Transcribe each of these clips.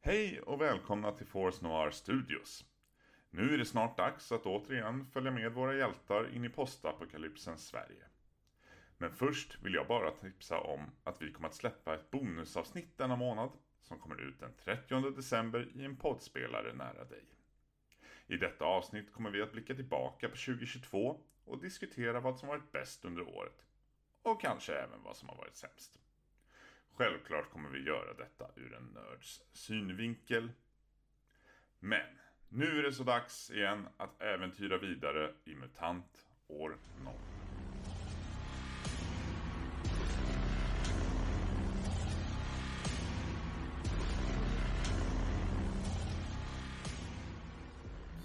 Hej och välkomna till Force Noir Studios. Nu är det snart dags att återigen följa med våra hjältar in i postapokalypsens Sverige. Men först vill jag bara tipsa om att vi kommer att släppa ett bonusavsnitt denna månad som kommer ut den 30 december i en poddspelare nära dig. I detta avsnitt kommer vi att blicka tillbaka på 2022 och diskutera vad som varit bäst under året. Och kanske även vad som har varit sämst. Självklart kommer vi göra detta ur en nörds synvinkel. Men nu är det så dags igen att äventyra vidare i MUTANT år 0.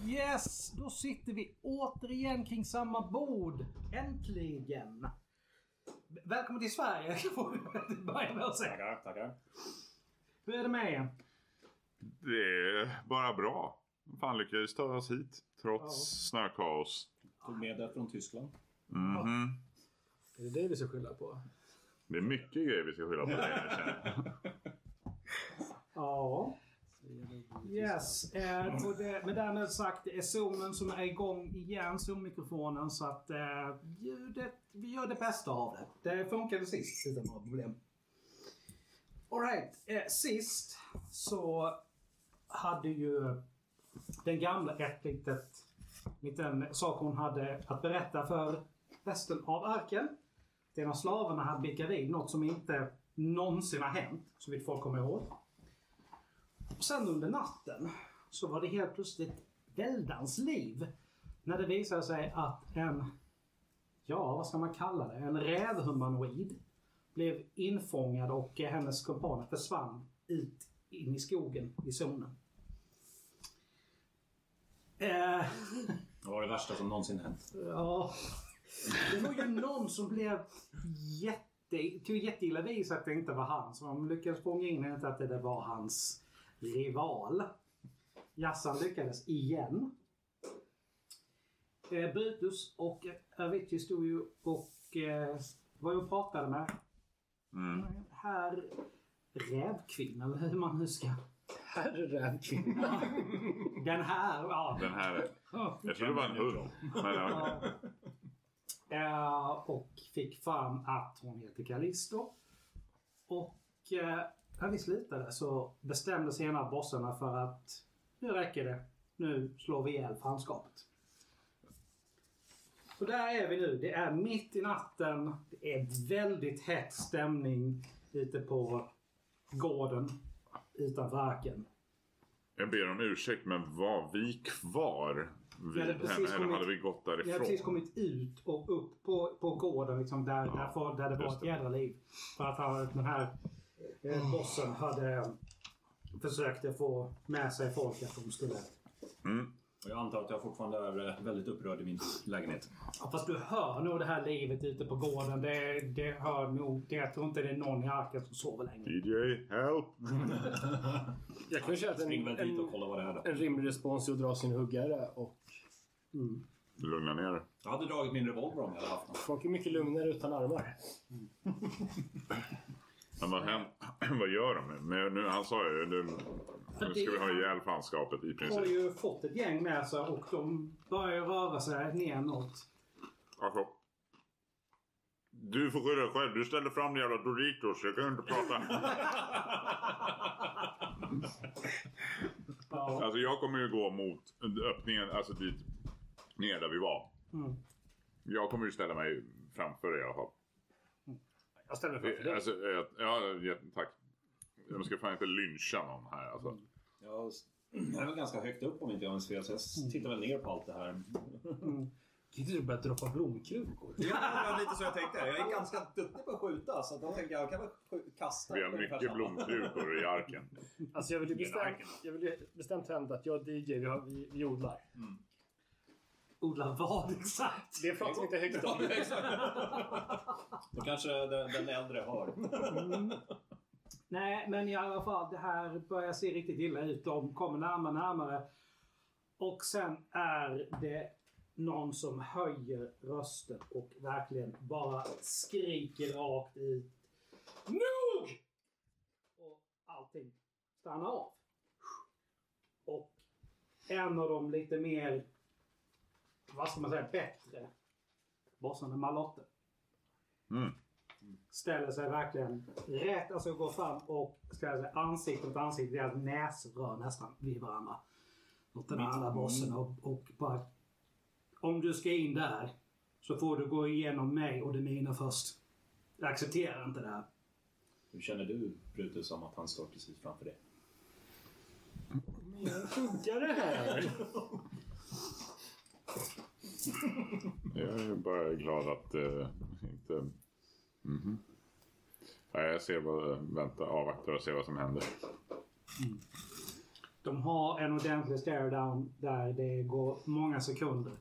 Yes! Då sitter vi återigen kring samma bord. Äntligen! V- Välkommen till Sverige, får vi börja med att säga. Tackar, tackar. Hur är det med er? Det är bara bra. Fan lyckades ta oss hit trots snökaos. Mhm. Tog med det från Tyskland. Är det det vi ska skylla på? Det är mycket grejer vi ska skylla på dig nu känner jag. Ja. Yes. Eh, och det, med därmed sagt, det är zoomen som är igång igen, zoommikrofonen. Så att eh, ljudet, vi gör det bästa av det. Det funkade sist utan några problem. Alright. Eh, sist så hade ju den gamla ett litet, liten sak hon hade att berätta för resten av arken. Det är när slavarna hade blickat vid något som inte någonsin har hänt, så vitt folk kommer ihåg. Och sen under natten så var det helt plötsligt väldans liv. När det visade sig att en, ja vad ska man kalla det, en rävhumanoid blev infångad och eh, hennes kumpaner försvann ut in i skogen i zonen. Eh, Det var det värsta som någonsin hänt. Ja. Det var ju någon som blev jätte, tog jätteilla vis att det inte var han. Så de lyckades fånga in inte att det där var hans rival. Jassan lyckades igen. Eh, Brutus och Avicii stod ju och eh, var ju och pratade med Mm. herr Rävkvinna, eller hur man nu ska... Herre rävkvinna. Den här, ja. Den här, jag tror det var en hund. Men ja. Ja. Eh, och fick fram att hon heter Callisto. Och eh, när vi slutade så bestämde sig en av bossarna för att nu räcker det. Nu slår vi ihjäl fanskapet. Och där är vi nu. Det är mitt i natten. Det är väldigt hett stämning ute på gården utanför arken. Jag ber om ursäkt men var vi kvar vid Vi hade precis henne eller kommit- hade vi gått Vi har precis därifrån? kommit ut och upp på, på gården liksom, där, där, folk- där det var just ett det. Mm. jädra liv. För att han, den här eh, bossen hade försökte få med sig folk att de skulle... Och jag antar att jag fortfarande är eh, väldigt upprörd i min lägenhet. Ja, fast du hör nog det här livet ute på gården. Det, det hör nog... Det, jag tror inte det är någon i arken som sover längre. Mm. DJ, help! Jag kan ju säga att en, Spring väl dit och en, kolla vad det är då. en rimlig respons är att dra sin huggare och Lugna ner dig. Jag hade dragit min revolver om jag hade haft någon. folk är mycket lugnare utan armar. Men vad, hem, vad gör de nu? Men nu? Han sa ju nu, nu ska vi ha ihjäl fanskapet i De har princip. ju fått ett gäng med sig och de börjar röra sig neråt. Alltså, du får skylla dig själv. Du ställer fram din jävla Doritos. Jag kan ju inte prata. Ja. Alltså jag kommer ju gå mot öppningen, alltså dit ner där vi var. Mm. Jag kommer ju ställa mig framför dig i alla fall. Jag ställer mig framför dig. Alltså, eh, ja, ja, tack. Jag ska fan inte lyncha någon här alltså. Jag s- jag är väl ganska högt upp om inte jag minns fel, så jag s- tittar väl ner på allt det här. Mm. Kan inte du börja droppa blomkrukor? Ja, lite så jag tänkte. Jag är ganska duktig på att skjuta, så då tänkte jag jag kan väl kasta. Vi har mycket blomkrukor i arken. Alltså jag vill ju bestämt, Arken. jag vill ju bestämt hävda att jag och DJ, vi, har, vi, vi odlar. Odla vad exakt? Det pratar vi inte högt om. Då kanske den, den äldre hör. Mm. Nej, men i alla fall, det här börjar se riktigt illa ut. De kommer närmare närmare. Och sen är det någon som höjer rösten och verkligen bara skriker rakt ut. Nog! Och allting stannar av. en av de lite mer, vad ska man säga, bättre bossarna Malotte. Mm. Ställer sig verkligen rätt, alltså går fram och ställer sig ansikte mot ansikte, deras näsrör nästan vid varandra. Mot den andra bossen och, och bara... Om du ska in där så får du gå igenom mig och det mina först. Jag accepterar inte det här. Hur känner du Brutus om att han står precis framför dig? Funkar det här? Jag är bara glad att eh, inte... Mhm. Nej, jag ser vad, vänta, avvaktar och ser vad som händer. De har en ordentlig stare down där det går många sekunder.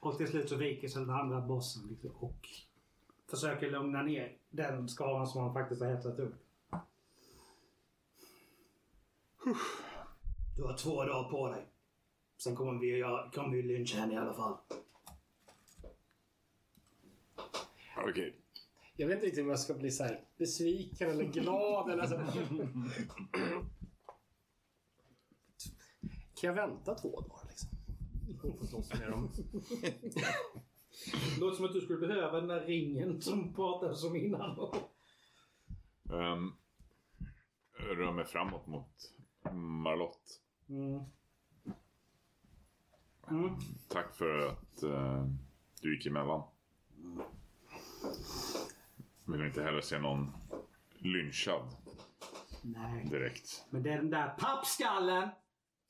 Och till slut så viker sig den andra bossen liksom och försöker lugna ner den skaran som han faktiskt har hetsat upp. Du har två dagar på dig. Sen kommer vi, göra- kommer vi lyncha henne i alla fall. Okej. Jag vet inte riktigt om jag ska bli så här besviken eller glad eller så. här. Kan jag vänta två dagar liksom? Och få slåss med dem. Det låter som att du skulle behöva den där ringen som pratades om innan. Ehm, rör mig framåt mot Marlotte. Mm. Mm. Tack för att eh, du gick emellan. Vill inte heller se någon lynchad Nej. direkt. Men det är den där pappskallen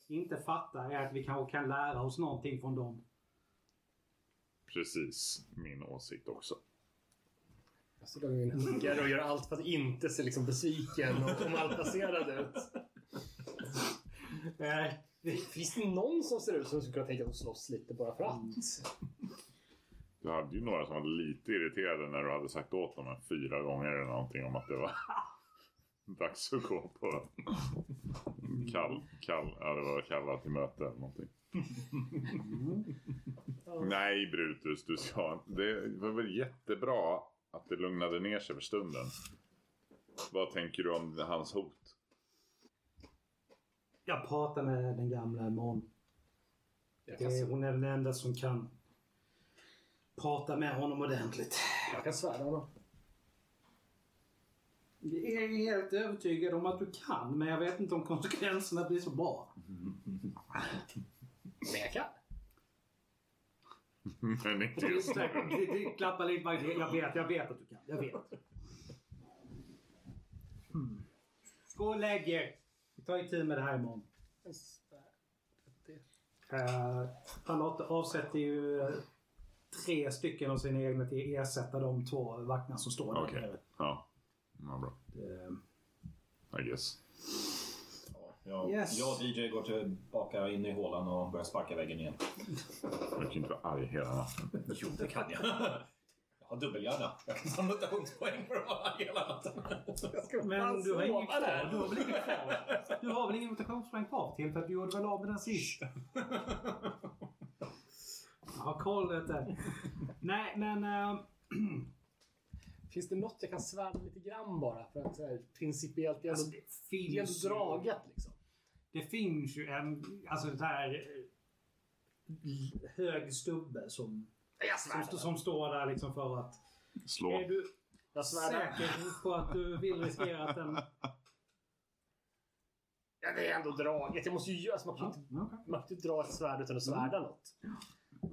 inte fattar är att vi kanske kan lära oss någonting från dem. Precis min åsikt också. Jag står där med min hunkar och gör allt för att inte se liksom besviken och malplacerad ut. Nej. Det- Finns det någon som ser ut som skulle kunna tänka sig att slåss lite bara för Mm. att? Du hade ju några som var lite irriterade när du hade sagt åt dem en fyra gånger eller någonting om att det var dags att gå på kall, kall, ja, det var kalla till möte eller någonting. Nej Brutus, du ska, det var väl jättebra att det lugnade ner sig för stunden. Vad tänker du om hans hot? Jag pratar med den gamla imorgon. Jag Det kan, är, hon är den enda som kan prata med honom ordentligt. jag kan svära honom. Jag är helt övertygad om att du kan, men jag vet inte om konsekvenserna blir så bra. Men jag kan. Men inte just nu. Det- det Klappar lite på axeln. Jag vet, jag vet att du kan. Jag vet. Hmm. Mm. Gå och lägg er. Vi tar itu med det här imorgon. Eh, Charlotte avsätter ju eh, tre stycken av sina egna till att ersätta de två vakterna som står där. Okej, ja. ja bra. Eh, I guess. Jag, Yes. jag och DJ går tillbaka in i hålan och börjar sparka väggen igen. Jag kan inte vara arg hela natten. Jo, det kan jag. Jag har dubbelhjärna. Jag kan samla mutationspoäng för att vara arg hela natten. Men du har sova inget kvar. där. Du har väl inget kvar? Du har väl ingen mutationspoäng kvar till för att du gjorde väl av med den sist? Jag har koll vet du. Nej men... eh, Finns det något jag kan svära lite grann bara? För att så här, principiellt, det är alltså, ändå- det det är finns ändå draget liksom. Det finns ju en... Alltså det här... eh, Hög stubbe som, Jag som, som står där liksom för att... Slå. Är du Jag svär. säker på att du vill riskera att den... Ja, det är ändå draget. Jag måste ju göra så. Man kan ju inte, Ja, okej. man kan ju inte dra ett svärd utan att Mm. svärda något.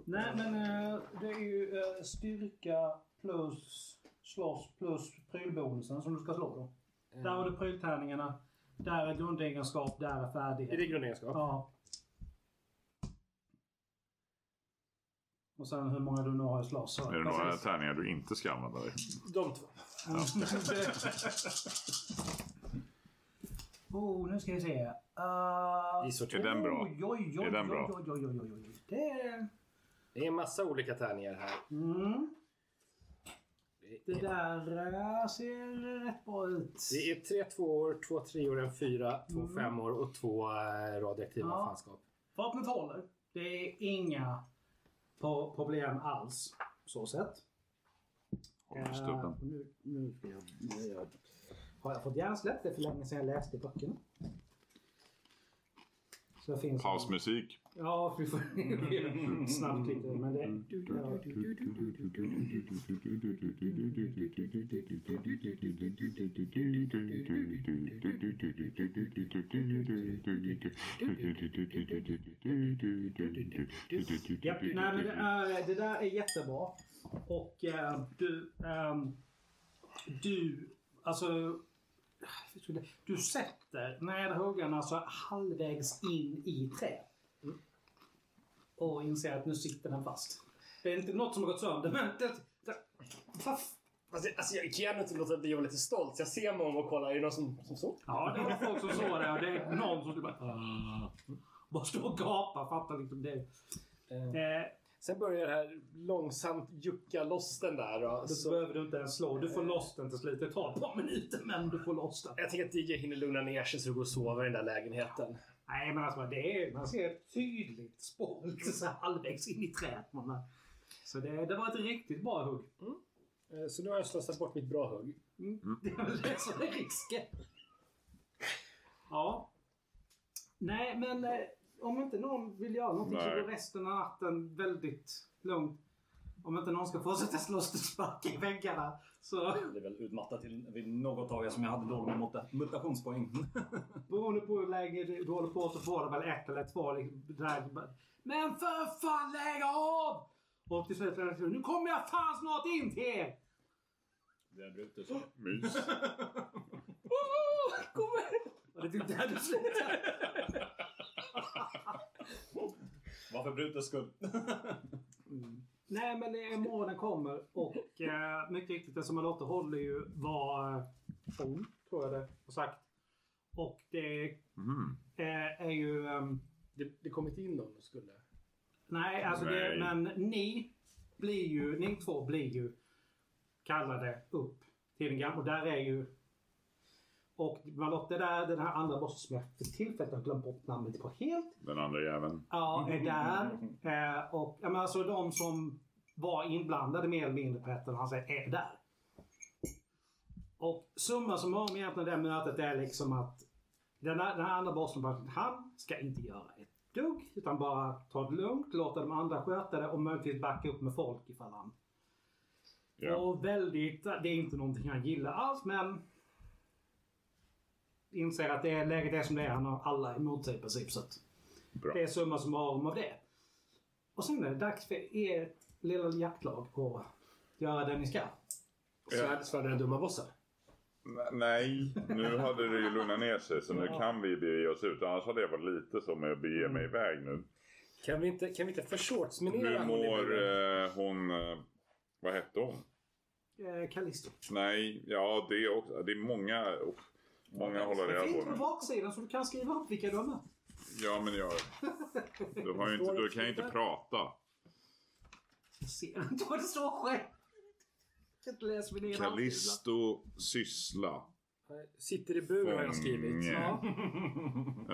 Nej, men eh, det är ju eh, styrka plus slåss plus prylbonusen som du ska slå då. Där har du pryltärningarna. Där är grundegenskap, där är Är Eh, det färdighet. grundegenskap? Ja. Och sen hur många du nu har i slåss. Är det några tärningar du inte ska använda dig? De två. oh, nu ska vi se. Uh, Gissar Är den bra? Oj, oj, oj, Är den bra? oj, oj, oj, oj, oj. Det är... Det är en massa olika tärningar här. Mm. Det Det är, där eh, ser rätt bra ut. det är tre tvåor, två treor, en fyra, två femmor och två eh, radioaktiva Ja. fanskap. Vapnet håller. Det är inga po- problem alls. Så sett. Håller stubben. Eh, nu, nu ska jag, nu är jag, har jag fått hjärnsläpp? Det är för länge sedan jag läste böckerna. Så det finns Pausmusik. Ja, vi får snabbt lite. Men det... Mm. Ja, nej, men det, är, det där är jättebra. Och eh, du... ehm, du... Alltså... Du sätter närdhuggarna så halvvägs in i trä. Mm. Och inser att nu sitter den fast. Det är inte något som har gått sönder, men... Det, det, fast. Alltså, alltså, jag kan inte låta bli att vara lite stolt. Så jag ser mig om och kollar. Är det någon som, som såg? Ja, det var folk som såg det och det är någon som bara... "Ah." Bara står och gapar, fattar liksom det. Eh, Sen börjar det här långsamt jucka loss den där. Och, Då så, behöver du inte ens slå. Du får loss den till slut. Det tar ett par minuter, men du får loss den. jag tänker att DJ hinner lugna ner sig så det går att sova i den där lägenheten. Nej, men alltså det är, man ser ett tydligt spår lite så här halvvägs in i träet. Man har- Så det, det var ett riktigt bra hugg. Mm. Eh, Så nu har jag slösat bort mitt bra hugg. Det är väl det som är risken. Ja. Nej, men eh, om inte någon vill göra någonting så Nej. går resten av natten väldigt lugnt. Om inte någon ska fortsätta slåss och sparka i väggarna så Jag blev väl utmattad till vid något tag som jag hade dåliga muta- mutationspoäng. Beroende på hur länge du håller på så får du väl ett eller två. Liksom, där. Men för fan lägg av! Och till slut är det nu kommer jag fan snart in till er! Det är Brutus. Mys. Och det är typ där du slutar. Varför Brutus skull? Nej men eh, morgonen kommer och eh, mycket riktigt den som har låtit håller ju var eh, hon, tror jag det har sagt. Och det Mm. eh, är ju... ehm, Det, det kom inte in någon och skulle... Nej, alltså Det, Nej. men ni blir ju, ni två blir ju kallade upp till den gamla. Och där är ju... Och Malotte där, den här andra bossen som jag för tillfället har glömt bort namnet på helt. Den andra jäveln. Ja, är där. Eh, och ja, men alltså de som var inblandade mer eller mindre på ett eller annat sätt är där. Och summa summarum egentligen det här mötet är liksom att den här, den här andra bossen bara, han ska inte göra ett dugg utan bara ta det lugnt, låta de andra sköta det och möjligtvis backa upp med folk ifall han... Ja. Och väldigt, det är inte någonting han gillar alls men inser att det är, läget är som det är. Han har alla emot sig i princip. Så att Bra. det är summa summarum av det. Och sen är det dags för ert lilla jaktlag att göra det ni ska. Svär, svär den dumma bossen. N- Nej, nu hade det ju lugnat ner sig så nu kan vi bege oss ut. Annars hade jag varit lite som att bege mig iväg nu. Kan vi inte, kan vi inte förshortsminera Nu hon i mår buren? eh, hon... Eh, vad hette hon? Eh, Callisto. Nej, ja det också. Det är många... Oh, många håller Det reda finns på på nu. baksidan så du kan skriva upp vilka du har mött. Ja, men jag... Du, har ju inte, du kan ju inte prata. Jag ser inte vad det står själv. Jag kan inte läsa min egen handstil. Callisto syssla. Sitter i bur har jag skrivit. Fånge. Ja,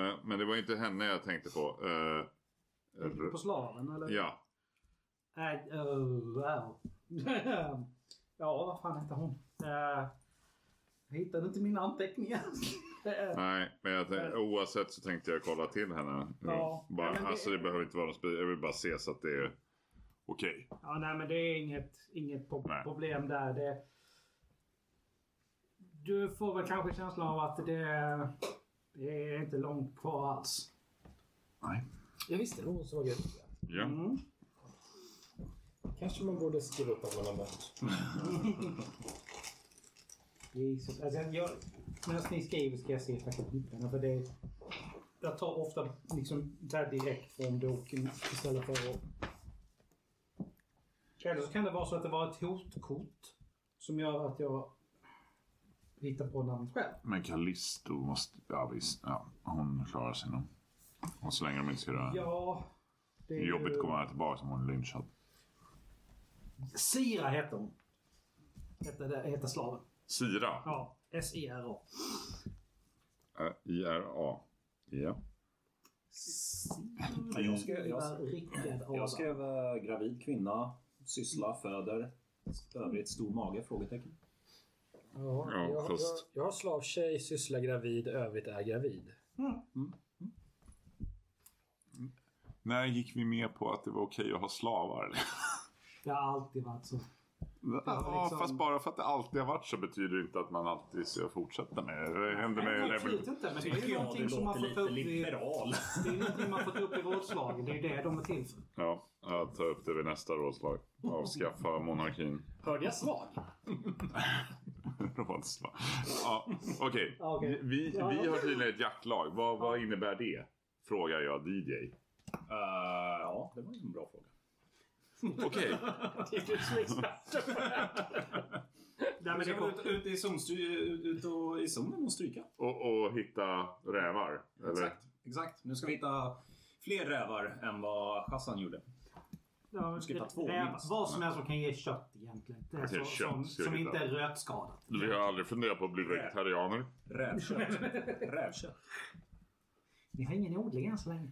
Eh, men det var inte henne jag tänkte på. Eh, r- på slaven eller? ja, Nej, oh, wow. ja, vad fan hette hon? Eh, jag hittade inte mina anteckningar. Eh, nej. Men jag tänkte, oavsett så tänkte jag kolla till henne. Ja. Bara, Ja, men det- Alltså det behöver inte vara något spe- Jag vill bara se så att det är okej. ja, nej, men det är inget, inget po- Nej. problem där. Det, du får väl kanske känslan av att det, det är inte långt kvar alls. Nej. Jag visste det var hon som var gud. Ja. Mm. Kanske man borde skriva upp vad man har mött. Jesus. Alltså, jag, medan ni skriver ska jag se ifall jag hittar den, för det Jag tar ofta liksom där direkt från boken istället för att... Eller så kan det vara så att det var ett hotkort som gör att jag hittar på namnet själv. Men Callisto måste... Ja visst. Ja, hon klarar sig nog. Och så länge de inte ska röra henne. Ja... Det är ju- Jobbigt att komma tillbaka om hon är lynchad. Sira heter hon. Hette, det- hette slaven. Sira. Ja, E S-I-R-A. Eh, I-R-A. Ja. Sira. Jag skrev- jag- Rickard Adam. Jag skrev eh, gravid kvinna, syssla, föder, övrigt stor mage? Frågetecken. Ja, Ja, jag, jag, fast- jag har slavtjej, sysslar gravid, övrigt är gravid. När gick vi med på att det var okej att ha slavar? Det har alltid varit så. Ja, liksom- fast bara för att det alltid har varit så betyder det inte att man alltid ska fortsätta med det. Det hände med revolutionen. Nej, absolut inte. Men det är Tycker ju jag du någonting som man får låter ta lite upp i, det liberal. är ju någonting man får ta upp i rådslagen. Det är ju det de är till för. Ja, Jag tar upp det vid nästa rådslag. Avskaffa monarkin. Hörde jag svag? Rådslag. Ja, Okej, Ja, okej. vi, vi Ja. har tydligen ett jaktlag. Vad, vad innebär det? Frågar jag DJ. Eh, ja, det var ju en bra fråga. Okej, Det är du som är expert. Nej, men det Ska kom, vi ut, ut, i zonstry, ut, ut och, i zonen och stryka? och, och hitta rävar? Eller? Exakt, exakt. Nu ska vi hitta fler rävar än vad Hassan gjorde. ja, ska vi ta två det är minst. vad som helst som kan ge kött egentligen. Det är Okej, så, kött som, ska vi som hitta. inte är rötskadat. Vi har aldrig funderat på att bli vegetarianer. Rävkött. Rävkött. Vi har ingen odling än så länge.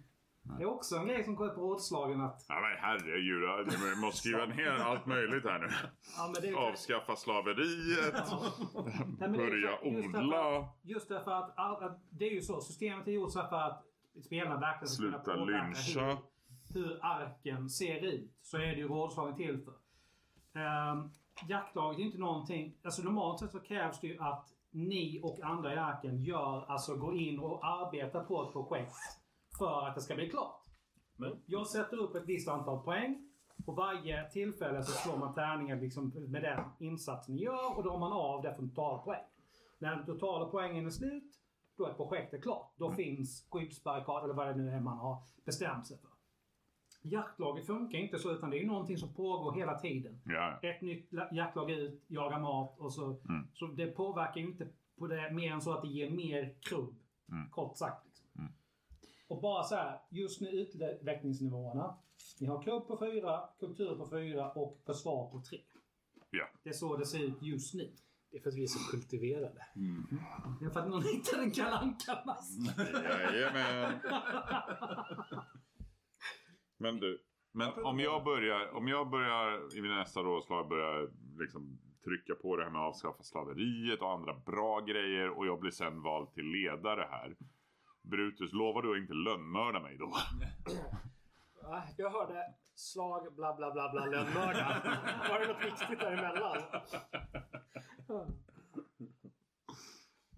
Det är också en grej som går på rådslagen att Ja, men herregud, vi måste skriva ner allt möjligt här nu. ja, men det är, Avskaffa slaveriet, Nej, men det är börja exakt just därför att- odla, Just därför att, all- att det är ju så. Systemet är gjort så här för att spelarna verkligen ska kunna sluta påverka hur- lyncha. hur arken ser ut så är det ju rådslagen till för. Ehm, jaktlaget är inte någonting... Alltså normalt sett så krävs det ju att ni och andra i arken gör, alltså går in och arbetar på ett projekt för att det ska bli klart. Men- Jag sätter upp ett visst antal poäng. På varje tillfälle så slår man tärningen liksom med den insats ni gör och då har man av det från totalpoäng. När den totala poängen är slut, då är projektet klart. Då finns skyddsbarrikad eller vad det nu är man har bestämt sig för. Jaktlaget funkar inte så utan det är ju någonting som pågår hela tiden. Ja, Ett nytt la- jaktlag ut, jagar mat och så. Mm. Så det påverkar ju inte på det mer än så att det ger mer krubb. Mm. Kort sagt. Liksom. Och bara så här, just nu utvecklingsnivåerna. Ni har krubb på fyra, kultur på fyra och försvar på tre. Ja. Det är så det ser ut just nu. Det är för att vi är så kultiverade. Det är för att någon hittade en Kalle Anka-mask. jajamän. Men du, men om jag börjar, om jag börjar i min nästa rådslag börjar liksom trycka på det här med att avskaffa slaveriet och andra bra grejer och jag blir sen vald till ledare här. Brutus, lovar du att inte lönnmörda mig då? Va? Jag hörde slag, bla bla bla bla, lönnmörda. Var det något viktigt däremellan?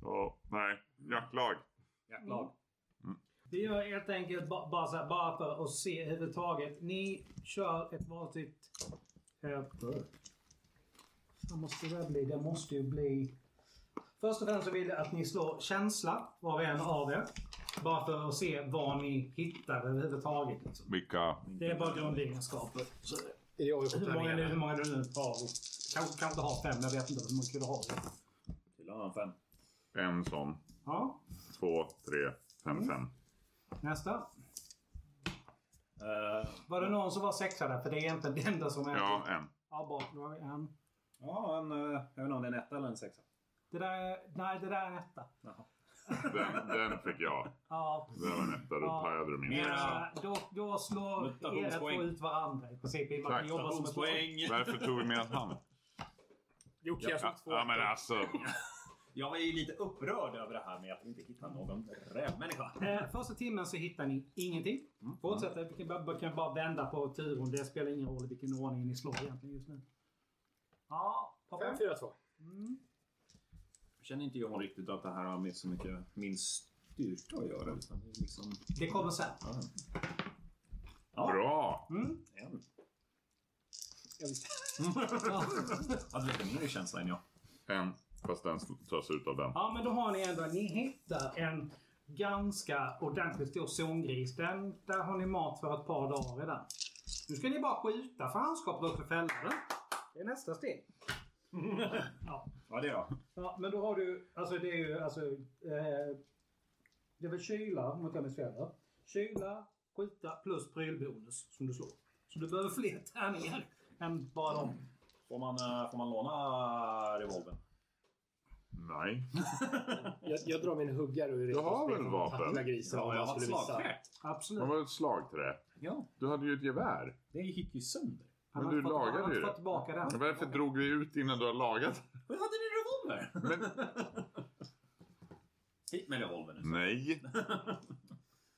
Ja, nej, jaktlag. Jaktlag. Vi Mm. gör helt enkelt ba- bara, så här, bara för att se överhuvudtaget. Ni kör ett vanligt... Eh, vad måste det bli? Det måste ju bli... Först och främst så vill jag att ni slår känsla, var och en av er. Bara för att se vad ni hittar överhuvudtaget. Liksom. Vilka? Det är bara grundegenskaper. Så, Är det jag vi får hur, ta många, med? nu- hur många du nu har. Kanske kan inte ha fem, jag vet inte hur många du har. Till annan fem. En sån. Ja, Två, tre, fem, fem. nästa. Eh, Var det någon som var sexa där? För det är egentligen det enda som är... Ja, en. ja bra. Då har vi en. ja, en, eh, jag vet inte om det är en etta eller en sexa. Det där, är- nej, det där är en etta. Den, den fick jag. Ja, Den var en etta, då Ja. pajade du min. era, då, då slår era två Mutationspoäng. ut varandra i princip. Man Tack. kan jobba som ett lag. Varför tog vi med han? Jocke, jag Ja, slog två. ja men alltså. Jag var ju lite upprörd över det här med att vi inte hittar någon rävmänniska. Eh, första timmen så hittar ni ingenting. Fortsätter, vi kan bara, kan bara vända på turen. Det spelar ingen roll i vilken ordning ni slår egentligen just nu. Ja, Mm. Fem, Poppen. fyra, två. Jag känner inte jag riktigt att det här har med så mycket min styrka att göra. Utan det är liksom... det kommer sen. Ja. Bra! Mm. En. Jag visste. Ja. Hade lite mer känsla än jag. En. Fast den tas ut av den. ja, men då har ni ändå, ni hittar en ganska ordentligt stor zongris. Den, där har ni mat för ett par dagar redan. Nu ska ni bara skjuta för handskapet också fälla den. Det är nästa steg. Ja, det då. Ja, men då har du, alltså det är ju, alltså, eh, det är väl kyla om jag inte minns fel va? Kyla, skjuta plus prylbonus som du slår. Så du behöver fler tärningar än bara dem. Får man, eh, får man låna revolvern? Nej. Jag, jag drar min huggare ur Du har väl vapen? Tackla grisen om Ja, jag jag har ett skulle visa. slagträ. Det Absolut. var ett slagträ. Ja, Du hade ju ett gevär. det gick ju sönder. Han har Men du inte fått- lagade Han har ju inte det. fått tillbaka den. Men Varför drog vi ut innan du har lagat? Men hade ni revolver? Men... Mm. Hit med revolvern nu. Nej.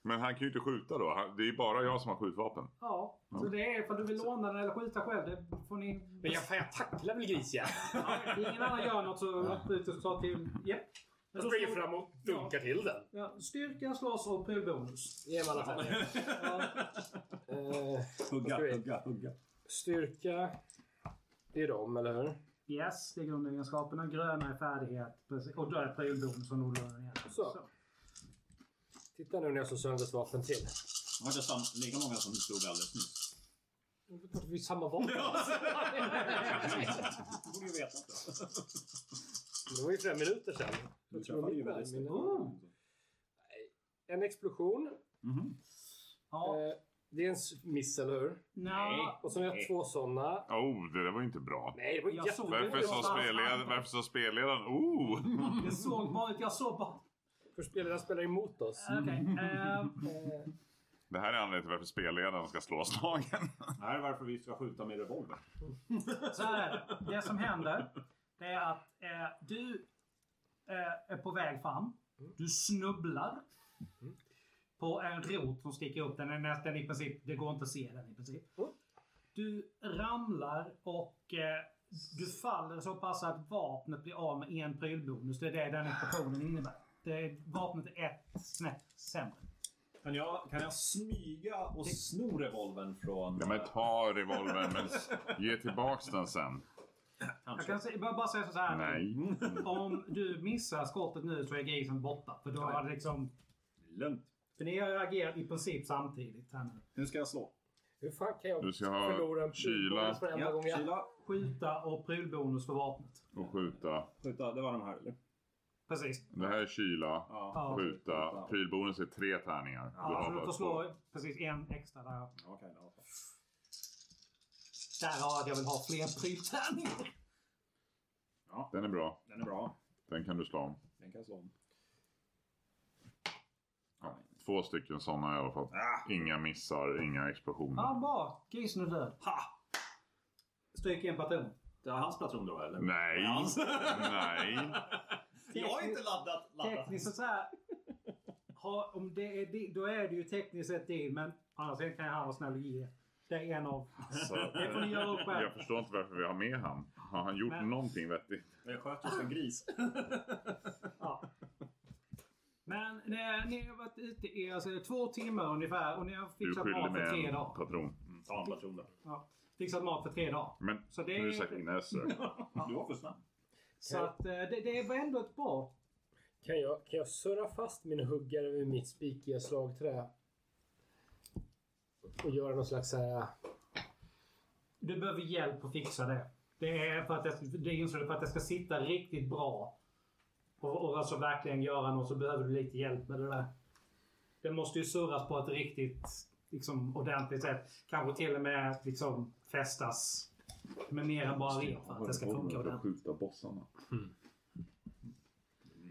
Men han kan ju inte skjuta då. Han, det är ju bara jag som har skjutvapen. Ja, så det är ifall du vill låna den eller skjuta själv. Det får ni... Men jag, fan, jag tacklar väl grisjäveln? Ingen annan gör något så hoppar ut och tar till... Japp. Jag springer fram och dunkar till den. Ja, styrka, slåss och prylbonus. Ge mig alla fem. Ja, Eh, Hugga, Okej. hugga, hugga. Styrka. Det är dem, eller hur? yes, det är grundegenskaperna. Gröna är färdighet. Precis. Och då är prylbonus och nollan igen. Så. Titta nu när jag slår sönder ett vapen till. Var det sam- lika många som stod alldeles nyss? Det är klart att vi är samma vapen. Det borde ju veta. Det var ju flera minuter sedan. Du Jag tror träffade ju mitt var- väldigt snyggt. min- Mm. En explosion. Mhm. Ja. Eh, det är en s- miss, eller hur? Nej. Och sen har jag två sådana. Oh, det där var ju inte bra. Nej, det var Jag såg jättebra. Varför det sa var fan spelled- sant. varför sa spelledaren oh? Jag såg bara ut. Jag såg bara... För spelaren spelar emot oss. Okej. eh, Eh, Det här är anledningen till varför spelledaren ska slå slagen. Det här är varför vi ska skjuta med revolver. Så här är det. Det som händer det är att eh, du eh, är på väg fram. Du snubblar på en rot som sticker upp. Den är nästan i princip, det går inte att se den i princip. Mm. Du ramlar och eh, du faller så pass att vapnet blir av med en prylbonus. Det är det den explosionen innebär. Det är, vapnet är ett snäpp sämre. Kan jag, kan jag smyga och sno revolvern från... Ja, men ta revolvern men s- ge tillbaks den sen. Jag kan se, bara bara säga så här. Nej. Om du missar skottet nu så är grisen borta. För då har det liksom Lugnt. För ni reagerar i princip samtidigt här nu. Nu ska jag slå. hur fan kan jag Du ska ha förlora en kyla. för varenda gång jag... Kyla, Skjuta och prylbonus för vapnet. Och skjuta. skjuta. Det var de här eller? Precis. Det här är kyla. Ja. Ja. Skjuta. Prylbonus är tre tärningar. Du Ja, har så du bara får två. slå precis en extra där. Okej, ja. Där har jag att jag vill ha fler pryltärningar. Den är bra. Den är bra. Den kan du slå om. Den kan jag slå om. Ja. Två stycken sådana i alla fall. Inga missar, inga explosioner. Ja, bra. Grisen är död. Ha! Stryk en patron. Det var hans platron då eller? Nej, Hans. nej. Jag har inte laddat. laddat. Tekniskt sett så här. Ha, om det är din, då är det ju tekniskt sett din, men annars kan jag vara snäll och ge. Det är en av... Alltså, Det får ni göra upp själv. jag förstår inte varför vi har med han. Har han gjort Men- någonting vettigt? Jag sköt just en gris. Mm, Ja. Men eh, ni har varit ute i alltså, två timmar ungefär och ni har Du fixat skyller mat för med tre en dagar. patron. Ta en platron då. Ja, fixat mat för tre dagar. Men Så det nu är är- du säkert inne Du var för snabb. Så att, eh, det, det var ändå ett bra. Kan jag, kan jag surra fast min huggare vid mitt spikiga slagträ? Och göra någon slags så här... Du behöver hjälp att fixa det. Det är för att det, det insåg du, för att det ska sitta riktigt bra. Och, och alltså verkligen göra något så behöver du lite hjälp med det där. Det måste ju surras på ett riktigt liksom, ordentligt sätt. Kanske till och med liksom, fästas med mer än bara rep för att det ska funka ordentligt. skjuta bossarna.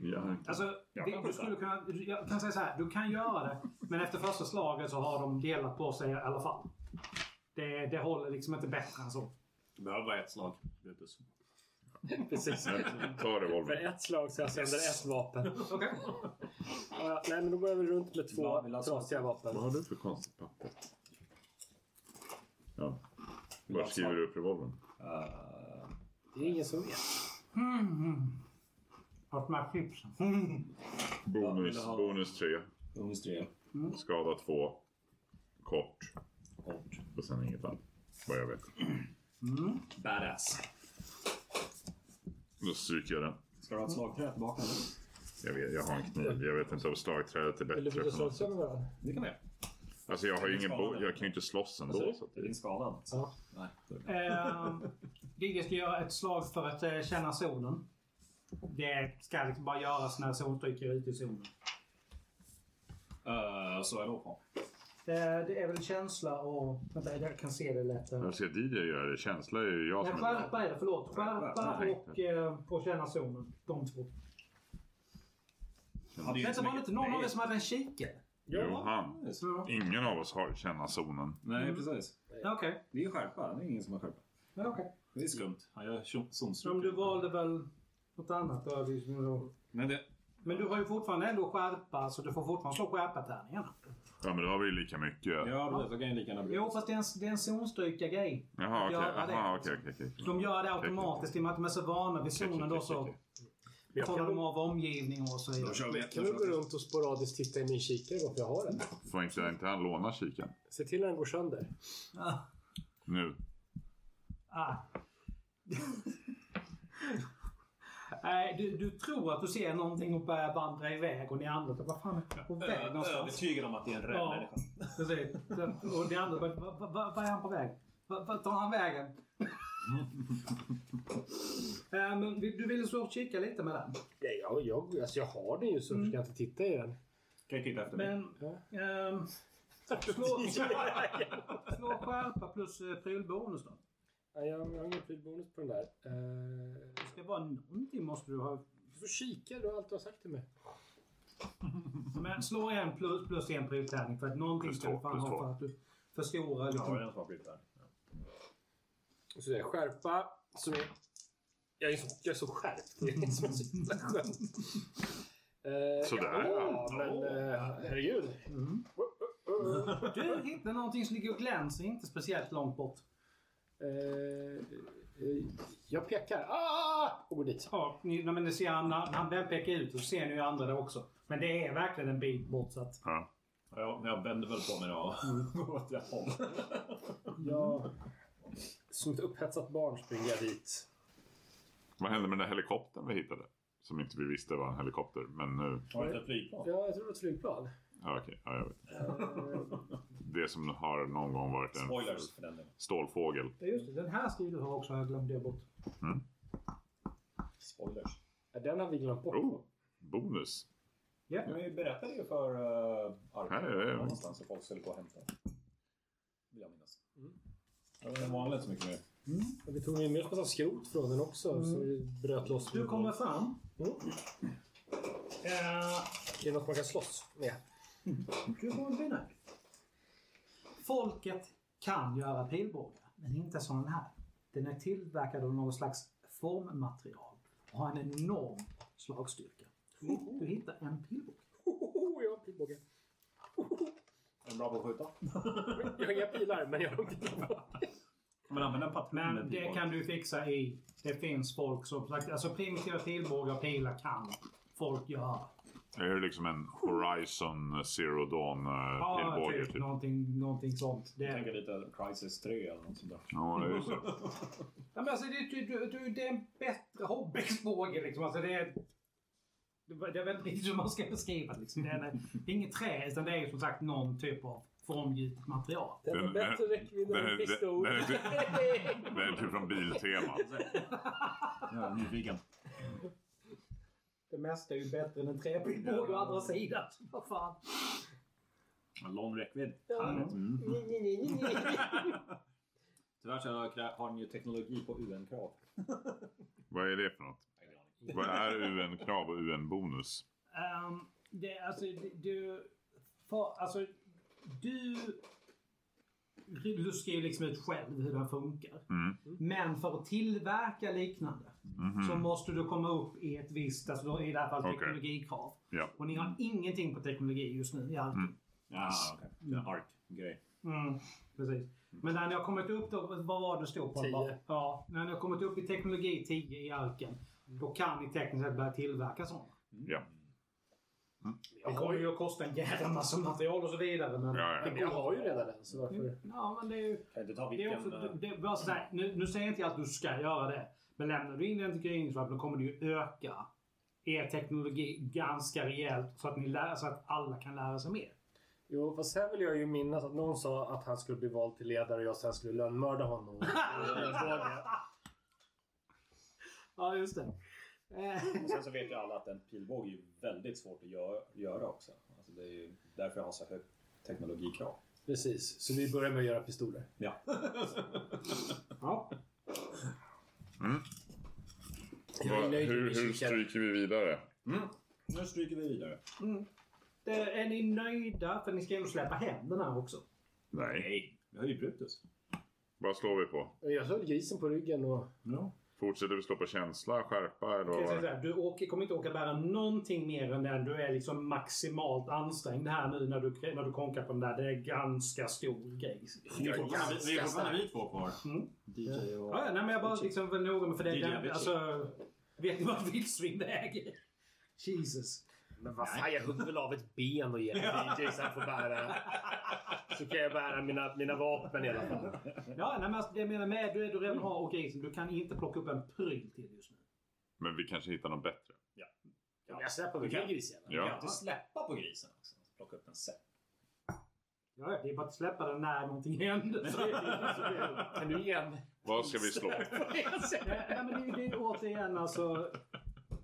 Ja. Alltså, det, du skulle kunna, du- jag kan säga så här, du kan göra det, men efter första slaget så har de delat på sig i alla fall. Det, det håller liksom inte bättre än så. Du behöver bara ett slag, Brutus. Precis. Ta För revolvern. ett slag så jag sönder ett vapen. Okej. Ja, ja, nej, men då går jag väl runt med två Ja, vill ha trasiga vapen. Vad har du för konstigt papper? Ja. ha Var ett skriver slag? du upp revolvern? Eh, Det är ingen som vet. Vart med chipsen? vill du Bonus, ha? bonus tre. Bonus 3. Skada två. Kort. Kort. Och sen inget annat. Vad jag vet. Badass. Då stryker jag den. Ska du ha ett slagträ tillbaka nu? Jag, vet, jag har en kniv. Jag vet inte om slagträdet är Vill du bättre. byta på något. slagträ med varandra? Det kan jag göra. Alltså jag har ju ingen bo- Skadade. Jag kan ju inte slåss ändå. Så att Är din det... skadad? Ja. Nej. det är bra. Ehm, Vigge ska göra ett slag för att eh, känna zonen. Det ska liksom bara göras när zonstrycket är ute i zonen. Eh, så är det på. Eh, det är väl känsla och... Vänta, jag kan se det lätt. här. Jag ser DJ göra det. Känsla är ju jag Nej, som är... skärpa är det, förlåt. Skärpa Nej. och, eh, och känna zonen. De två. Hade ju Vänta, inte var det inte någon av er Nej. som hade en kikare? Johan. Ja. Ingen av oss har känna zonen. Nej, precis. Okej. Det är ju skärpa. Det är ingen som har skärpa. Men okej. Det är skumt. Han gör Om du zonstryk. valde väl något annat då hade du ju... Men det... Men du har ju fortfarande ändå skärpa, så du får fortfarande slå skärpa-tärningarna. Ja, men då har vi ju lika mycket. Ja, precis. Då kan jag lika gärna bli. Jo, fast det är en, det är en zonstryka-grej. Jaha, Att okej. göra det. Aha, okej, okej, okej. De gör Mm. det automatiskt. I och med att de är så vana vid zonen då så Jag kollar de kan, av omgivningen och så vidare. kör vi. kan du gå runt och sporadiskt titta i min kikare varför jag har den? Får inte, inte han låna kikaren? Se till att den går sönder. Ah, Nu. ah. Nej, du, du tror att du ser någonting och börjar vandra iväg och ni andra tänker, vad fan är han på väg någonstans? Övertygad om att det är en rädd Ja. människa. Precis. Och de andra bara, "Va- va- va- vart är han på väg? Va- Vart tar han vägen? Eh, Men vi- du ville så kika lite med den. Ja, jag, jag, alltså jag har den ju så varför ska jag inte titta i den? Kan ju titta efter mig. Men... ehm, slå, slå skärpa plus eh, prylbonus då. Nej, jag, jag har ingen prylbonus på den där. Uh, Det ska vara någonting måste du ha. du får kika, du har allt du har sagt till mig. Men slå en plus, plus en pryltärning för att någonting Plus ska du två, fan plus ha två. för att du förstorar Jag har liksom. en som har blivit där. Så det är skärpa som är... Jag är så, jag är så skärpt. Det är som en så jävla skönt. Eh, Sådär, Ja, ja. men eh, herregud. Mm. Du hittar någonting som ligger och glänser inte speciellt långt bort. Eh, eh, jag pekar. Ah! Och går dit. Ja, ni, nej, men ni ser han, när han väl pekar ut och ser ni ju andra där också. Men det är verkligen en bit bort så att... Ja. Ja, jag vänder väl på mig då. Går åt rätt håll. Jag, som ett upphetsat barn springer jag dit. Vad hände med den där helikoptern vi hittade? Som inte vi visste var en helikopter, men nu... Har du inte ett flygplan? Ja, jag tror det var ett flygplan. Ja, okej. Ja, jag vet. Eh, Det som har någon gång varit en Spoilers för den delen. stålfågel. Ja, just det. Den här ska ju du ha också. Jag glömde jag bort. Spoilers. den har vi glömt bort. Oh, bonus. Ja. Men berätta det ju för uh, Arvid. Nej, nej, nej. Någonstans så folk skulle gå och hämta den. Vill jag minnas. Mm. Det var inte så mycket mer. Och Vi tog ju med oss massa skrot från den också. Så vi bröt loss. Du kommer fram. Mm. Eh, Är det något man kan slåss med? Du får en benägen. Folket kan göra pilbågar, men inte som den här. Den är tillverkad av någon slags formmaterial och har en enorm slagstyrka. Du hittar en pilbåge. Hohoho, Oh, jag har en pilbåge. Är den bra på att skjuta? Jag har inga pilar, men jag har en pilbåge. Men använd en patron med Men det pilbåge. kan du fixa i. Det finns folk som sagt, alltså primitiva pilbågar och pilar kan folk göra. Är det liksom en Horizon Zero Dawn eh, Ja, pilbåge? typ Typ. någonting, någonting sånt. Det Jag är, tänker lite Crisis 3 eller något sånt där. Ja, just det. ja, men alltså, det, är- du, du, det är en bättre hobbyxbåge liksom. Alltså, det är, Det var- det är väl inte riktigt hur man ska beskriva det, liksom. det. är- Det är inget trä, utan det är ju som sagt någon typ av formgjutet material. Den Den- har bättre den- räckvidd den- än en pistol. den- Det är typ från Biltema. Jag är nyfiken. Det mesta är ju bättre än en träpilbåge å andra sidan. Vad fan. En Lång räckvidd. Ja. Härligt. Mm. Nej, nej, nej, nej, nej. Tyvärr så har krä- har den ju teknologi på UN-krav. Vad är det för något? Vad är UN-krav och UN-bonus? Ehm, det, alltså, det- du... För, alltså, du... Du ska ju liksom ut själv hur den funkar. Mm. Men för att tillverka liknande Mhm. så måste du komma upp i ett visst, alltså då i det här fallet Mm. Okej. teknologikrav. Ja. Och ni har ingenting på teknologi just nu i allt. Mm. Ja, okej. Det är en ARK-grej. Mm, precis. Men när ni har kommit upp då, vad var det stod på? 10. Ja, när ni har kommit upp i teknologi 10 i arken. Då kan ni tekniskt sett börja tillverka sådana. Mm. Ja. Det kommer ju att kosta en jävla massa material och så vidare. Men, Ja, ja. Men jag har ju redan den, så varför? ja, men det är ju... Kan inte ta Det är vilken... också, eh, det, bara så här, nu, nu säger jag inte att du ska göra det. Men lämnar du in den till Gryningsvalp då kommer du ju öka er teknologi ganska rejält så att, ni lär, så att alla kan lära sig mer. Jo, fast sen vill jag ju minnas att någon sa att han skulle bli vald till ledare och jag sen skulle lönnmörda honom. Och Ja, just det. Eh, Och sen så vet ju alla att en pilbåge är ju väldigt svårt att gö- göra också. Alltså det är ju därför jag har så högt teknologikrav. Precis, så vi börjar med att göra pistoler. Ja. ja. Jag är Vad- nöjd med Hur, min hur kikare. stryker vi vidare? Nu stryker vi vidare. Mm. Det, är ni nöjda? För ni ska ju ändå släppa hem den här också. Nej. Nej, vi har ju Brutus. Vad slår vi på? Jag höll grisen på ryggen och... Ja. Fortsätter vi slå på känsla, skärpa eller Jag vad kan var säga så det? här, Du åker, kommer inte åka bära någonting mer än den. Du är liksom maximalt ansträngd här nu när du, när du konkar på den där. Det är ganska stor grej. Vi är fortfarande vi är fortfarande vi två kvar. Mm. DJ och... Ja, ja, nej, men jag bara liksom var noga med för det. Det är det jag Den, vet. alltså, vet ni vad vildsvin väger? Jesus. Men vad fan, jag hugger väl av ett ben och ger till DJ så han får bära. Så kan jag bära mina, mina vapen i alla fall. Ja, nej, men alltså, det jag menar med du, är- du redan har åkt grisen. Du kan inte plocka upp en pryl till just nu. Men vi kanske hittar något bättre. Ja, men jag släpper väl till grisjäveln. Kan Ja. jag inte släppa på grisen också? Plocka upp den sen. Ja, ja, det är bara att släppa den när någonting händer. Så det är- så det är- Kan du ge en... Vad ska vi slå? Nej, nej, men det, är- det är återigen alltså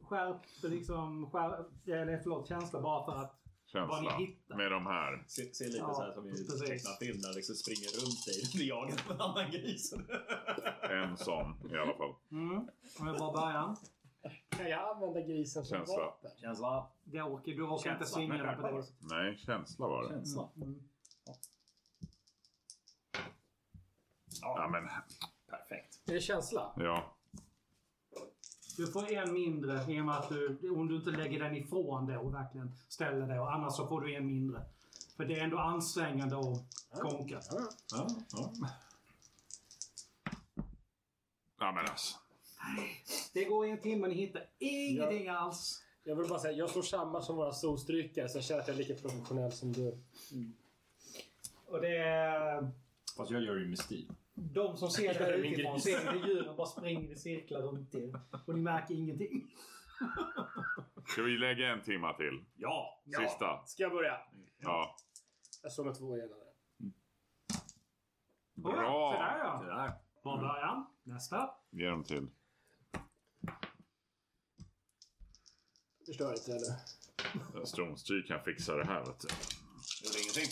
skärp, liksom, skärp eller förlåt, känsla bara för att Känsla. Vad ni hittar. Med de här. Se, se lite Ja, så här som i precis. tecknarfilm där liksom springer runt dig och jagar på en annan gris. En sån i alla fall. Mm. Om jag bara börjar. Kan jag använda grisen som Känsla. vapen? Känsla. Det åker, du orkar inte Känsla, svinga men den på det skärpa viset. Nej, känsla var det. Känsla. Mm. Ja, men Perfekt. Är det känsla? ja. Du får en mindre i och med att du, om du inte lägger den ifrån dig och verkligen ställer dig. Och annars så får du en mindre. För det är ändå ansträngande att konka. Ja, ja. Ja, men alltså. Det går i en timme och ni hittar ingenting alls. Jag vill bara säga, jag slår samma som våra solstrykare så jag känner att jag är lika professionell som du. Och det är... Fast jag gör det ju med stil. De som ser Jag det är en utifrån gris. ser hur djuren bara springer i cirklar runt er. Och ni märker ingenting. Ska vi lägga en timma till? Ja! Sista. Ska jag börja? Ja. Jag slår med två igen. där. Ja, Bra! Sådär ja. Sådär. Var början. Nästa. Ge dem till. Förstör inte eller? Stromstryk kan fixa det här, vet du. Det är ingenting.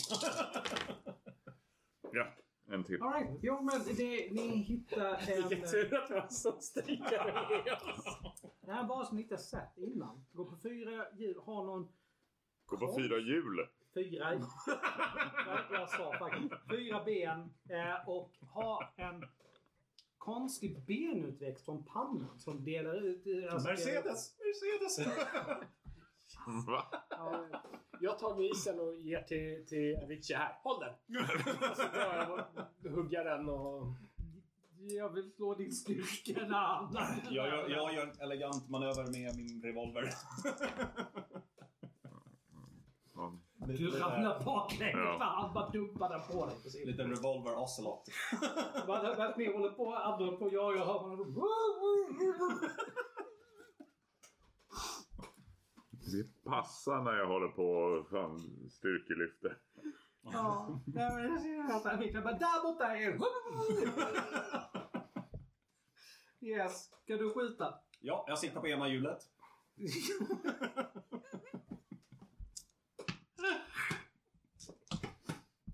Ja, en till. All right. Jo, men det, ni hittar Vilken en... eh, tur att vi har en solstrykare med oss. Det här var som ni inte har sett innan. Går på fyra hjul, har någon Gå på fyra hjul. fyra... Vad jag sa faktiskt. Fyra ben eh, och har en konstig benutväxt från pannan som delar ut... eh, Alltså, Mercedes! Mercedes! Va? Ja, Jag tar grisen och ger till, till Avicii här. Håll den! Och så drar jag och hugger den och... jag vill slå din styrka när han... Jag gör, jag Jag gör en elegant manöver med min revolver. Någon- Du ramlar baklänges Ja. när han bara dumpar den på dig. precis. Lite revolver ocelot. Man har varit med och håller på, andra håller på, jag och jag hör man... Det passar när jag håller på och fan styrkelyfter. Ja, nej, men jag ser att han vinklar. Bara, Där borta är Yes, ska du skjuta? Ja, jag sitter på ena hjulet.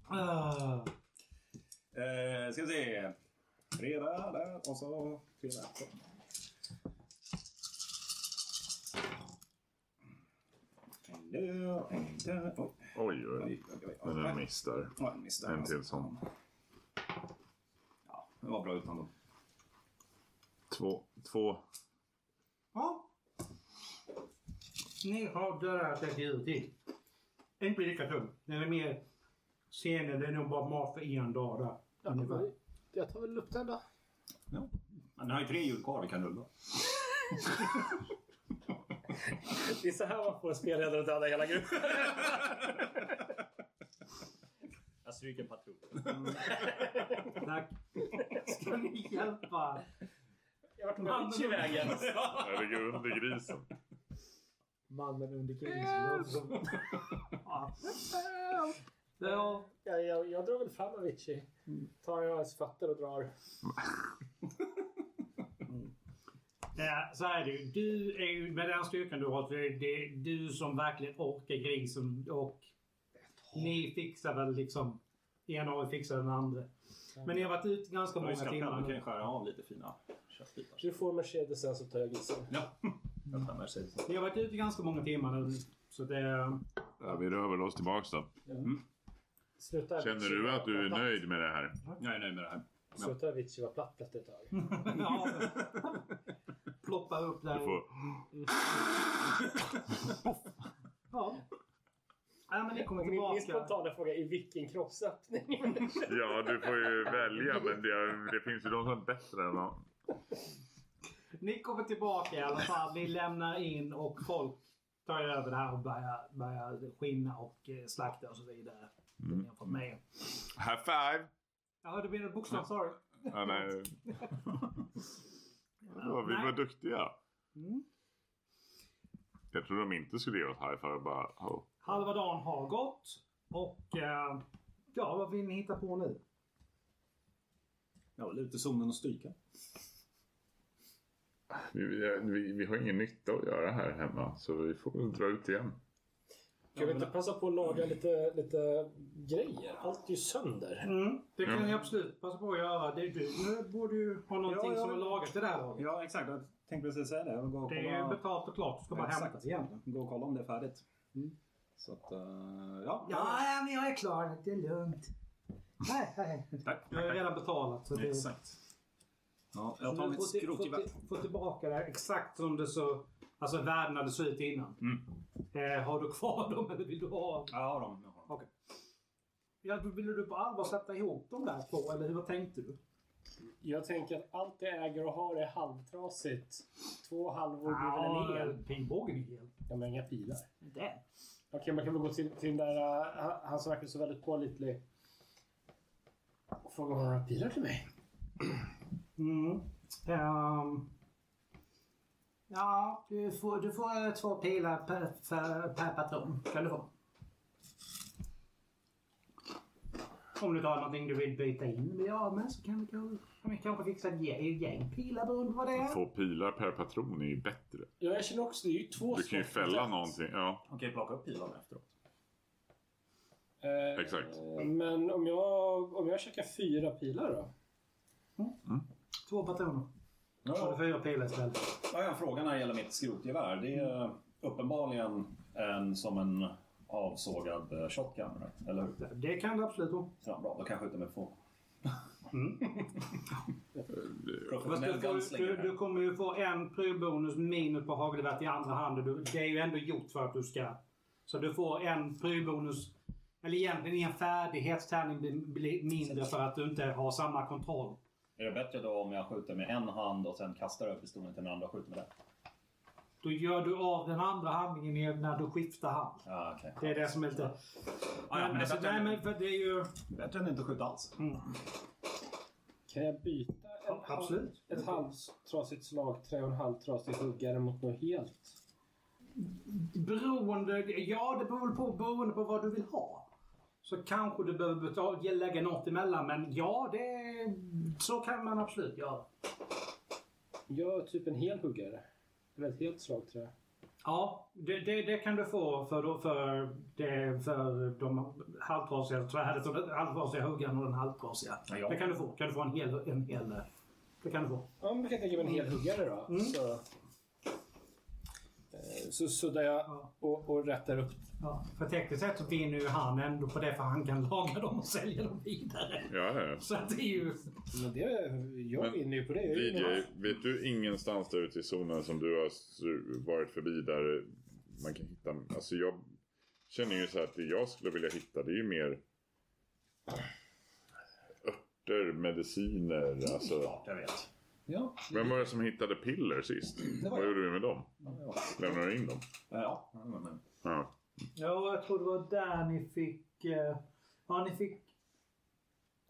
Ah, Eh, ska vi se. Tre där, där och så tre där. Så. En där, en där. Oj, Oj, oj. oj, oj, oj. Men en oj. miss där. Ja, en miss där. En till sån. Ja, det var bra utan dem. Två. Två. Ja. Ni har dödat ett djur till. Inte lika tung. Den är mer senare. Den är nog bara mat för en dag där. Ungefär. Jag tar väl upp den då. Men ni har ju tre hjul kvar vi kan rulla. Det är så här man får spelledare att döda hela gruppen. Jag stryker patrull. Mm. Tack. Ska ni hjälpa? Jag vart mannen i vägen. Jag ligger under grisen. Mannen under killen. Ja. Ja. Jag, jag, jag drar väl fram Avicii. Tar jag hans fötter och drar. Ja, så är det ju. Du är ju, med den styrkan du har, så är det du som verkligen orkar grisen och ni fixar väl liksom, en av er fixar den andra. Men ni har varit ute ganska många Du ska timmar fram, du kan ju nu. skära av lite fina köttbitar. Du får Mercedesen så tar jag grisen. Ja. Jag tar Mercedes. Ni har varit ute ganska många timmar nu. Så det... Ja, vi rör väl oss tillbaks då. Sluta. Känner du att du är nöjd med det här? Jag är nöjd med det här. Slutar Avicii vara platt efter ett tag. Ja. Ploppa upp där. Du får, Ja. Nej, men ni kommer Min, min tillbaka. spontana fråga är vilken kroppsöppning? ja, du får ju välja men det, det finns ju de som är bättre än någon. Ni kommer tillbaka i alla fall. Ni lämnar in och folk tar ju över det här och börjar, börjar skinna och eh, slakta och så vidare. Det ni har fått med er. High five! Ja, det blir en bokstav. Sorry. Ja, nej. Ja, vi var Nej. duktiga. Mm. Jag tror de inte skulle ge oss high five bara. Oh. Halva dagen har gått och eh, ja, vad vill ni hitta på nu? Ja, lite zonen och stryka. Vi, vi, vi har ingen nytta att göra här hemma så vi får väl dra ut igen. Kan vi inte passa på att laga lite, lite grejer? Allt är ju sönder. Mm, det kan Ja. ni absolut passa på att göra. Det är du. Nu borde ju ha någonting Ja, ja. som är lagat till det här laget. Ja, exakt. Jag tänkte precis säga det. Jag vill gå och Det är ju kolla, betalt och klart. Det ska bara Exakt. hämtas egentligen. gå och kolla om det är färdigt. Så att, eh, ja. Mm. Ja, men jag är klar. Det är lugnt. Nej, nej. Tack. Jag har redan betalat. Så det... Exakt. Ja, Så jag tar nu mitt får till- får skrotgevär. till- Få tillbaka det här exakt som det så... Alltså världen hade sett ut innan. Eh, har du kvar dem eller vill du ha? Ja, jag har dem. Jag har dem. Ja, då ville du på allvar sätta ihop dem där två eller hur, vad tänkte du? Jag tänker att allt det äger och har är halvtrasigt. Två halvor blir väl en hel. Ja, Pilbågen är hel. Ja, men inga pilar. Det. Okej, man kan väl gå till, till den där... eh, han- han som verkar så väldigt pålitlig. Och fråga om han har några pilar till mig. Mm. Ehm. ja, du får, du får eh, två pilar per, per, per patron. Kan du få. Om du tar någonting du vill byta in med ja, men så kan vi, kan vi kanske fixa ett gäng, gäng pilar beroende på vad det är. Två pilar per patron är ju bättre. Ja, jag känner också det. är ju två Du kan ju skott. fälla någonting. Ja, Okej, plocka upp pilarna efteråt. Eh, exakt. Men om jag, om jag käkar fyra pilar då? Två patroner. Ja, Så har du fyra pilar istället. Ja, jag har en fråga när det gäller mitt skrotgevär. Det är eh, uppenbarligen en, som en avsågad eh, shotgun, right? eller hur? Det kan du absolut vara. Ja, bra, då kan jag skjuta med få. Mm. Fast du, Professionell får, du, gunslinger. du kommer ju få en prylbonus minus på hagelgeväret i andra hand. och Du, det är ju ändå gjort för att du ska... Så du får en prylbonus, eller egentligen en färdighetstärning blir, blir mindre för att du inte har samma kontroll. Är det bättre då om jag skjuter med en hand och sen kastar över pistolen till den andra och skjuter med den? Då gör du av den andra handlingen i- när du skiftar hand. Ja, okej. Det är det som är lite... ja, men men, alltså, det- nej, men för det är ju... Bättre än inte att skjuta alls. Mm. Kan jag byta en Ja, absolut. halv, ett halvtrasigt slagträ och en halvtrasig huggare mot något helt? Beroende... Ja, det beror väl på, beroende på vad du vill ha. Så kanske du behöver betala, lägga något emellan. Men ja, det, så kan man absolut göra. Gör typ en hel huggare. Eller ett helt slagträ. Ja, det, det, det kan du få för, då- för, det, för de halvtrasiga svärdet och den halvtrasiga huggaren och den halvtrasiga. Ja, ja. Det kan du få. Kan du få en hel... En hel det kan du få. Ja, men vi kan tänka mig en hel huggare då. Så, Mm. eh, så suddar jag Ja. och, och rättar upp. Ja, för tekniskt sett så vinner ju han ändå på det för han kan laga dem och sälja dem vidare. Ja, ja. Så att det är ju... Men det, jag Men vinner ju på det. Jag är ju DJ, med. vet du ingenstans där ute i zonen som du har s- varit förbi där man kan hitta... Alltså jag känner ju så här att det jag skulle vilja hitta det är ju mer örter, mediciner, alltså. Klart jag vet. Vem var det som hittade piller sist? Vad gjorde vi med dem? Ja, Lämnade du in dem? Eh, ja. ja. men- Ja. Ja, jag tror det var där ni fick... eh, Ja, ni fick...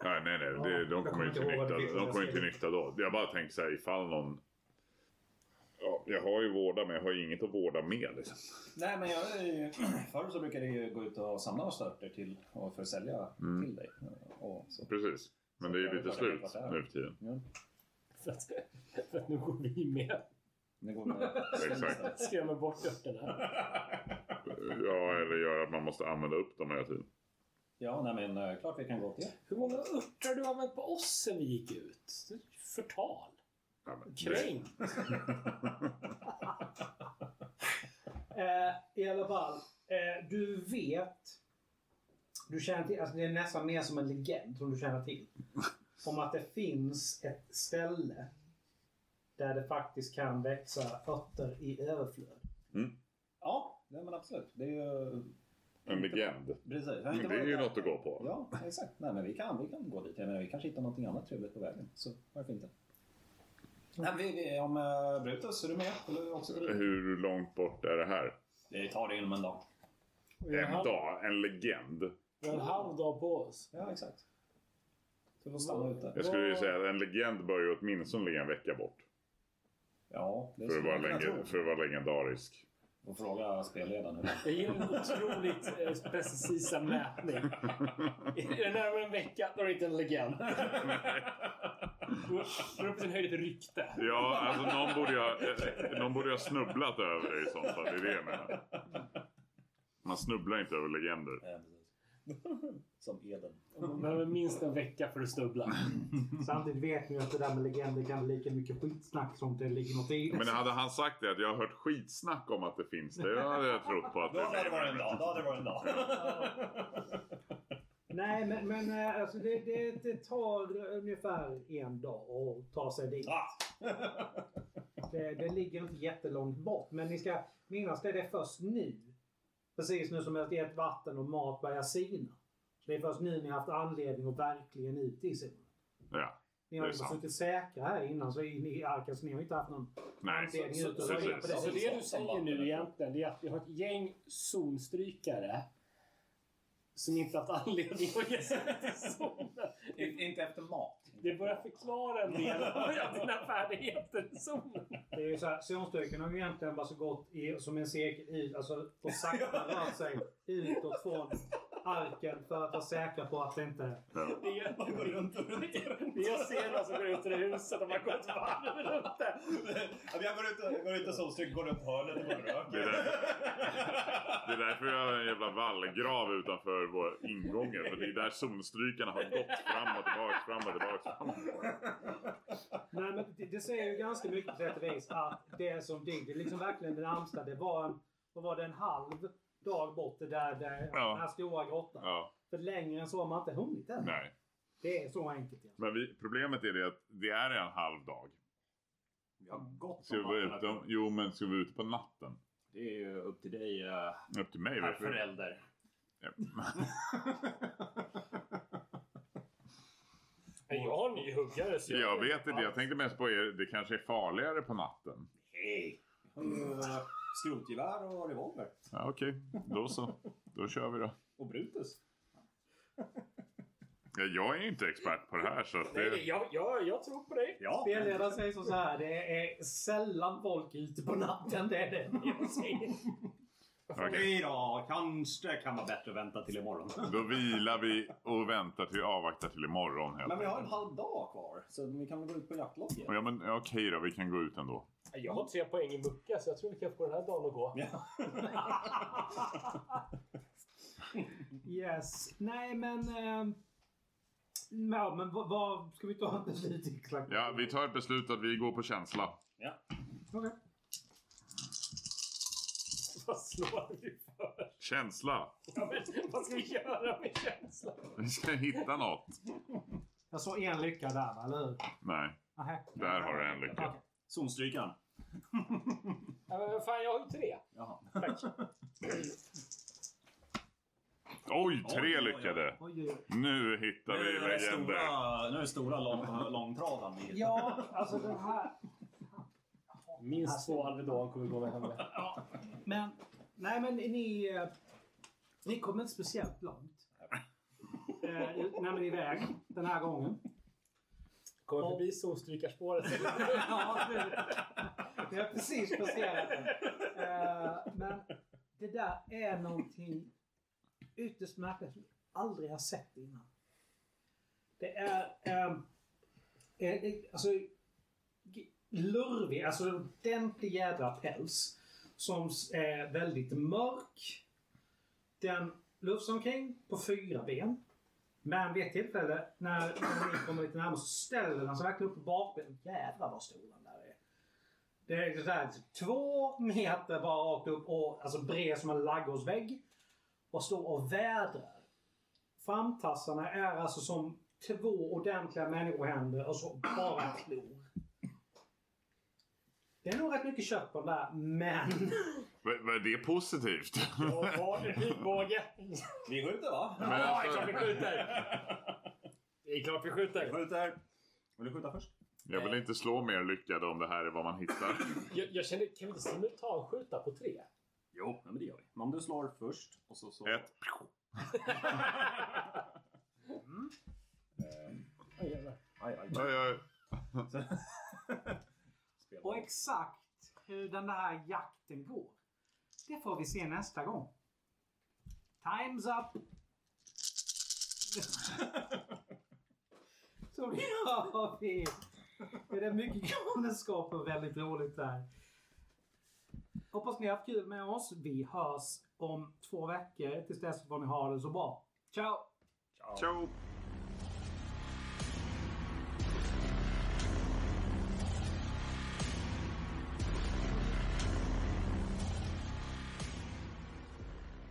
Nej, nej, nej. Det, de kommer ju till nytta, de kommer ju till nytta då. Jag bara tänker så här ifall någon... Ja, jag har ju vårda men jag har ju inget att vårda med. Liksom. Nej, men jag, är ju- förr så brukade jag ju gå ut och samla störter till och för att sälja Mm. till dig. Och så. Precis. Men det är ju lite slut nu för tiden. För att, för att nu går vi med. Det går med. Exakt. Skrämmer bort örterna. Ja, eller gör att man måste använda upp dem hela tiden. Ja, nej, men eh, klart vi kan gå till er. Hur många örter du har använt på oss sen vi gick ut? Det är ju Förtal. Ja, men, nej. Kränkt. Eh, I alla fall, eh, du vet... Du känner till, alltså det är nästan mer som en legend som du känner till. om att det finns ett ställe där det faktiskt kan växa örter i överflöd. Ja, nej, men absolut. Det är ju... En legend. Precis. Jag har Men inte det är varit ju där. något att gå på. Ja, exakt. Nej, men vi kan, vi kan gå dit. Jag menar, vi kanske hittar någonting annat trevligt på vägen. Så varför inte? Nej, vi, vi, om eh, Brutus, är du med? Eller också gå dit? Hur långt bort är det här? Vi tar det inom en dag. Vi har en En halv- dag, en legend. vi har en halv dag på oss. Ja, exakt. Du får stanna ute. Jag skulle ju säga att en legend bör ju åtminstone ligga en vecka bort. Ja, det För att skulle vara, jag kunna lenge, tro. för att vara legendarisk. Och fråga spelledaren hur Jag gillar den otroligt eh, precisa mätning. Är det närmare en vecka, då är det inte en legend. Då då är det på sin höjd ett rykte. Ja, alltså någon borde ju ha, eh, någon borde ju ha snubblat över det i sånt fall. Det är det jag menar. Man snubblar inte över legender. Ja, precis. Som Eden. Man behöver minst en vecka för att snubbla. Samtidigt vet ni ju att det där med legender kan bli lika mycket skitsnack som det ligger något i. Men hade han sagt det att jag har hört skitsnack om att det finns det, då hade jag trott på att Då det hade det varit en är dag. Då hade det varit en dag. Nej, men, men eh, alltså, det, det, det tar ungefär en dag att ta sig dit. Ah! Det, det ligger inte jättelångt bort. Men ni ska minnas det, det är först nu. Precis nu som att ert vatten och mat börjar sina. Så det är först nu ni har haft anledning att verkligen ut i solen. Ja, Ni har Det ju är sant. försökt säkra här innan så i, i arken så ni har inte haft någon nej. anledning så- ut och så- röja på precis. det Så sättet. det du säger nu egentligen det är att vi har ett gäng zonstrykare som inte haft anledning att ge sig ut i zonen. I- Inte efter mat. Det börjar förklara en del av dina färdigheter i zonen. Det är ju så här, zonstyrkan har ju egentligen bara så gått i, som en cirkel ut, alltså och sakta rört sig utåt från arken för att vara säkra på att det inte... Det är, Man går runt och runt. det är senare som går ut ur huset och man går ett varv runt det. Ja, men Jag går ut och, jag går ut och solstryker, går runt hörnet och bara röker. Det är, därför, det är därför jag har en jävla vallgrav utanför våra ingångar. För det är där zonstrykarna har gått fram och tillbaka, fram och tillbaka. Fram. Nej, men det, det säger ju ganska mycket på sätt och vis att det som dig, det är liksom verkligen det närmsta. Det var en, vad var det, en halv dag bort det där, där Ja. den här stora grottan. Ja, För längre än så har man inte hunnit än. nej. Det är så enkelt. Ja. Men vi, problemet är det att det är en halv dag. Vi har gott Ska vi vara vatten. ute, jo, men ska vi vara ute på natten? Det är ju upp till dig, eh, Upp till mig. herr vet du. förälder. Men jag har en ny huggare. Så Jag vet inte, jag tänkte mest på er. Det kanske är farligare på natten. Nej. Jag har ju, eh, Skrotgevär och revolver. Ja, Okej, då så. Då kör vi då. Och Brutus. Ja, Jag är ju inte expert på det här så att det... Nej, jag, jag, jag tror på dig. Ja. Spelledaren säger som så här, det är sällan folk ute på natten. Det är det jag säger. Okej. Okej då, kanske det kan vara bättre att vänta till imorgon. Då vilar vi och väntar till vi avvaktar till imorgon helt Men vi har en enkelt. halv dag kvar, så vi kan väl gå ut på jaktlag igen. Ja, men ja, okej då, vi kan gå ut ändå. Jag har tre poäng i mucka så jag tror vi kan få den här dagen att gå. Yes. Nej, men... Eh, ja, men vad, vad... Ska vi ta ett beslut exakt? Ja, vi tar ett beslut att vi går på känsla. Okej. Vad slår vi för? Känsla! Ja, men, vad ska vi göra med känslan? Vi ska hitta något. Jag sa en lycka där, va? eller hur? Nej, Nähä. där har du en lycka. Okej. Zonstrykaren. Ja, men vad fan, jag har ju tre. Jaha. Oj, Oj, oj, tre oj. lyckade! Oj, oj, oj. Nu hittar vi Nu är det legender. stora, nu är det stora lång, långtradaren vi hittar. Ja, alltså den här... Minst två Alvedon kommer gå med hem. Men... Nej, men ni... eh, Ni kom inte speciellt långt. Eh, nej, men iväg den här gången. Kommer förbi solstrykarspåret. Ja, det- vi har precis passerat den. Eh, men det där är någonting ytterst märkligt som jag aldrig har sett innan. Det är... Eh, eh, eh, alltså, g- lurvig, alltså ordentlig jädra päls som s- är väldigt mörk. Den lufsar omkring på fyra ben. Men vid ett tillfälle när, när ni kommer lite närmare så ställer han sig verkligen upp på bakbenen. Jävlar vad stor den där är. Det är så här, två meter bara rakt upp och alltså bred som en ladugårdsvägg. Och står och vädrar. Framtassarna är alltså som två ordentliga människohänder och så bara klor. Det är nog rätt mycket kött på den där, men... Vad vad är det positivt? Och en pilbåge. Vi skjuter va? Men alltså, Det är klart vi Vi skjuter. skjuter. Vill du skjuta först? jag vill inte slå mer lyckade om det här är vad man hittar. Jag, jag känner, kan vi inte simultanskjuta på tre? Jo, ja, men det gör vi. Men om du slår först och så... så... Ett. Oj, jävlar. Aj, aj. Ja, ja, Och exakt hur den där jakten går, det får vi se nästa gång. Time's up! Så det har vi. Det är mycket galenskap och väldigt roligt där. Hoppas ni har haft kul med oss. Vi hörs om två veckor. Tills dess får ni ha det så bra. Ciao! Ciao!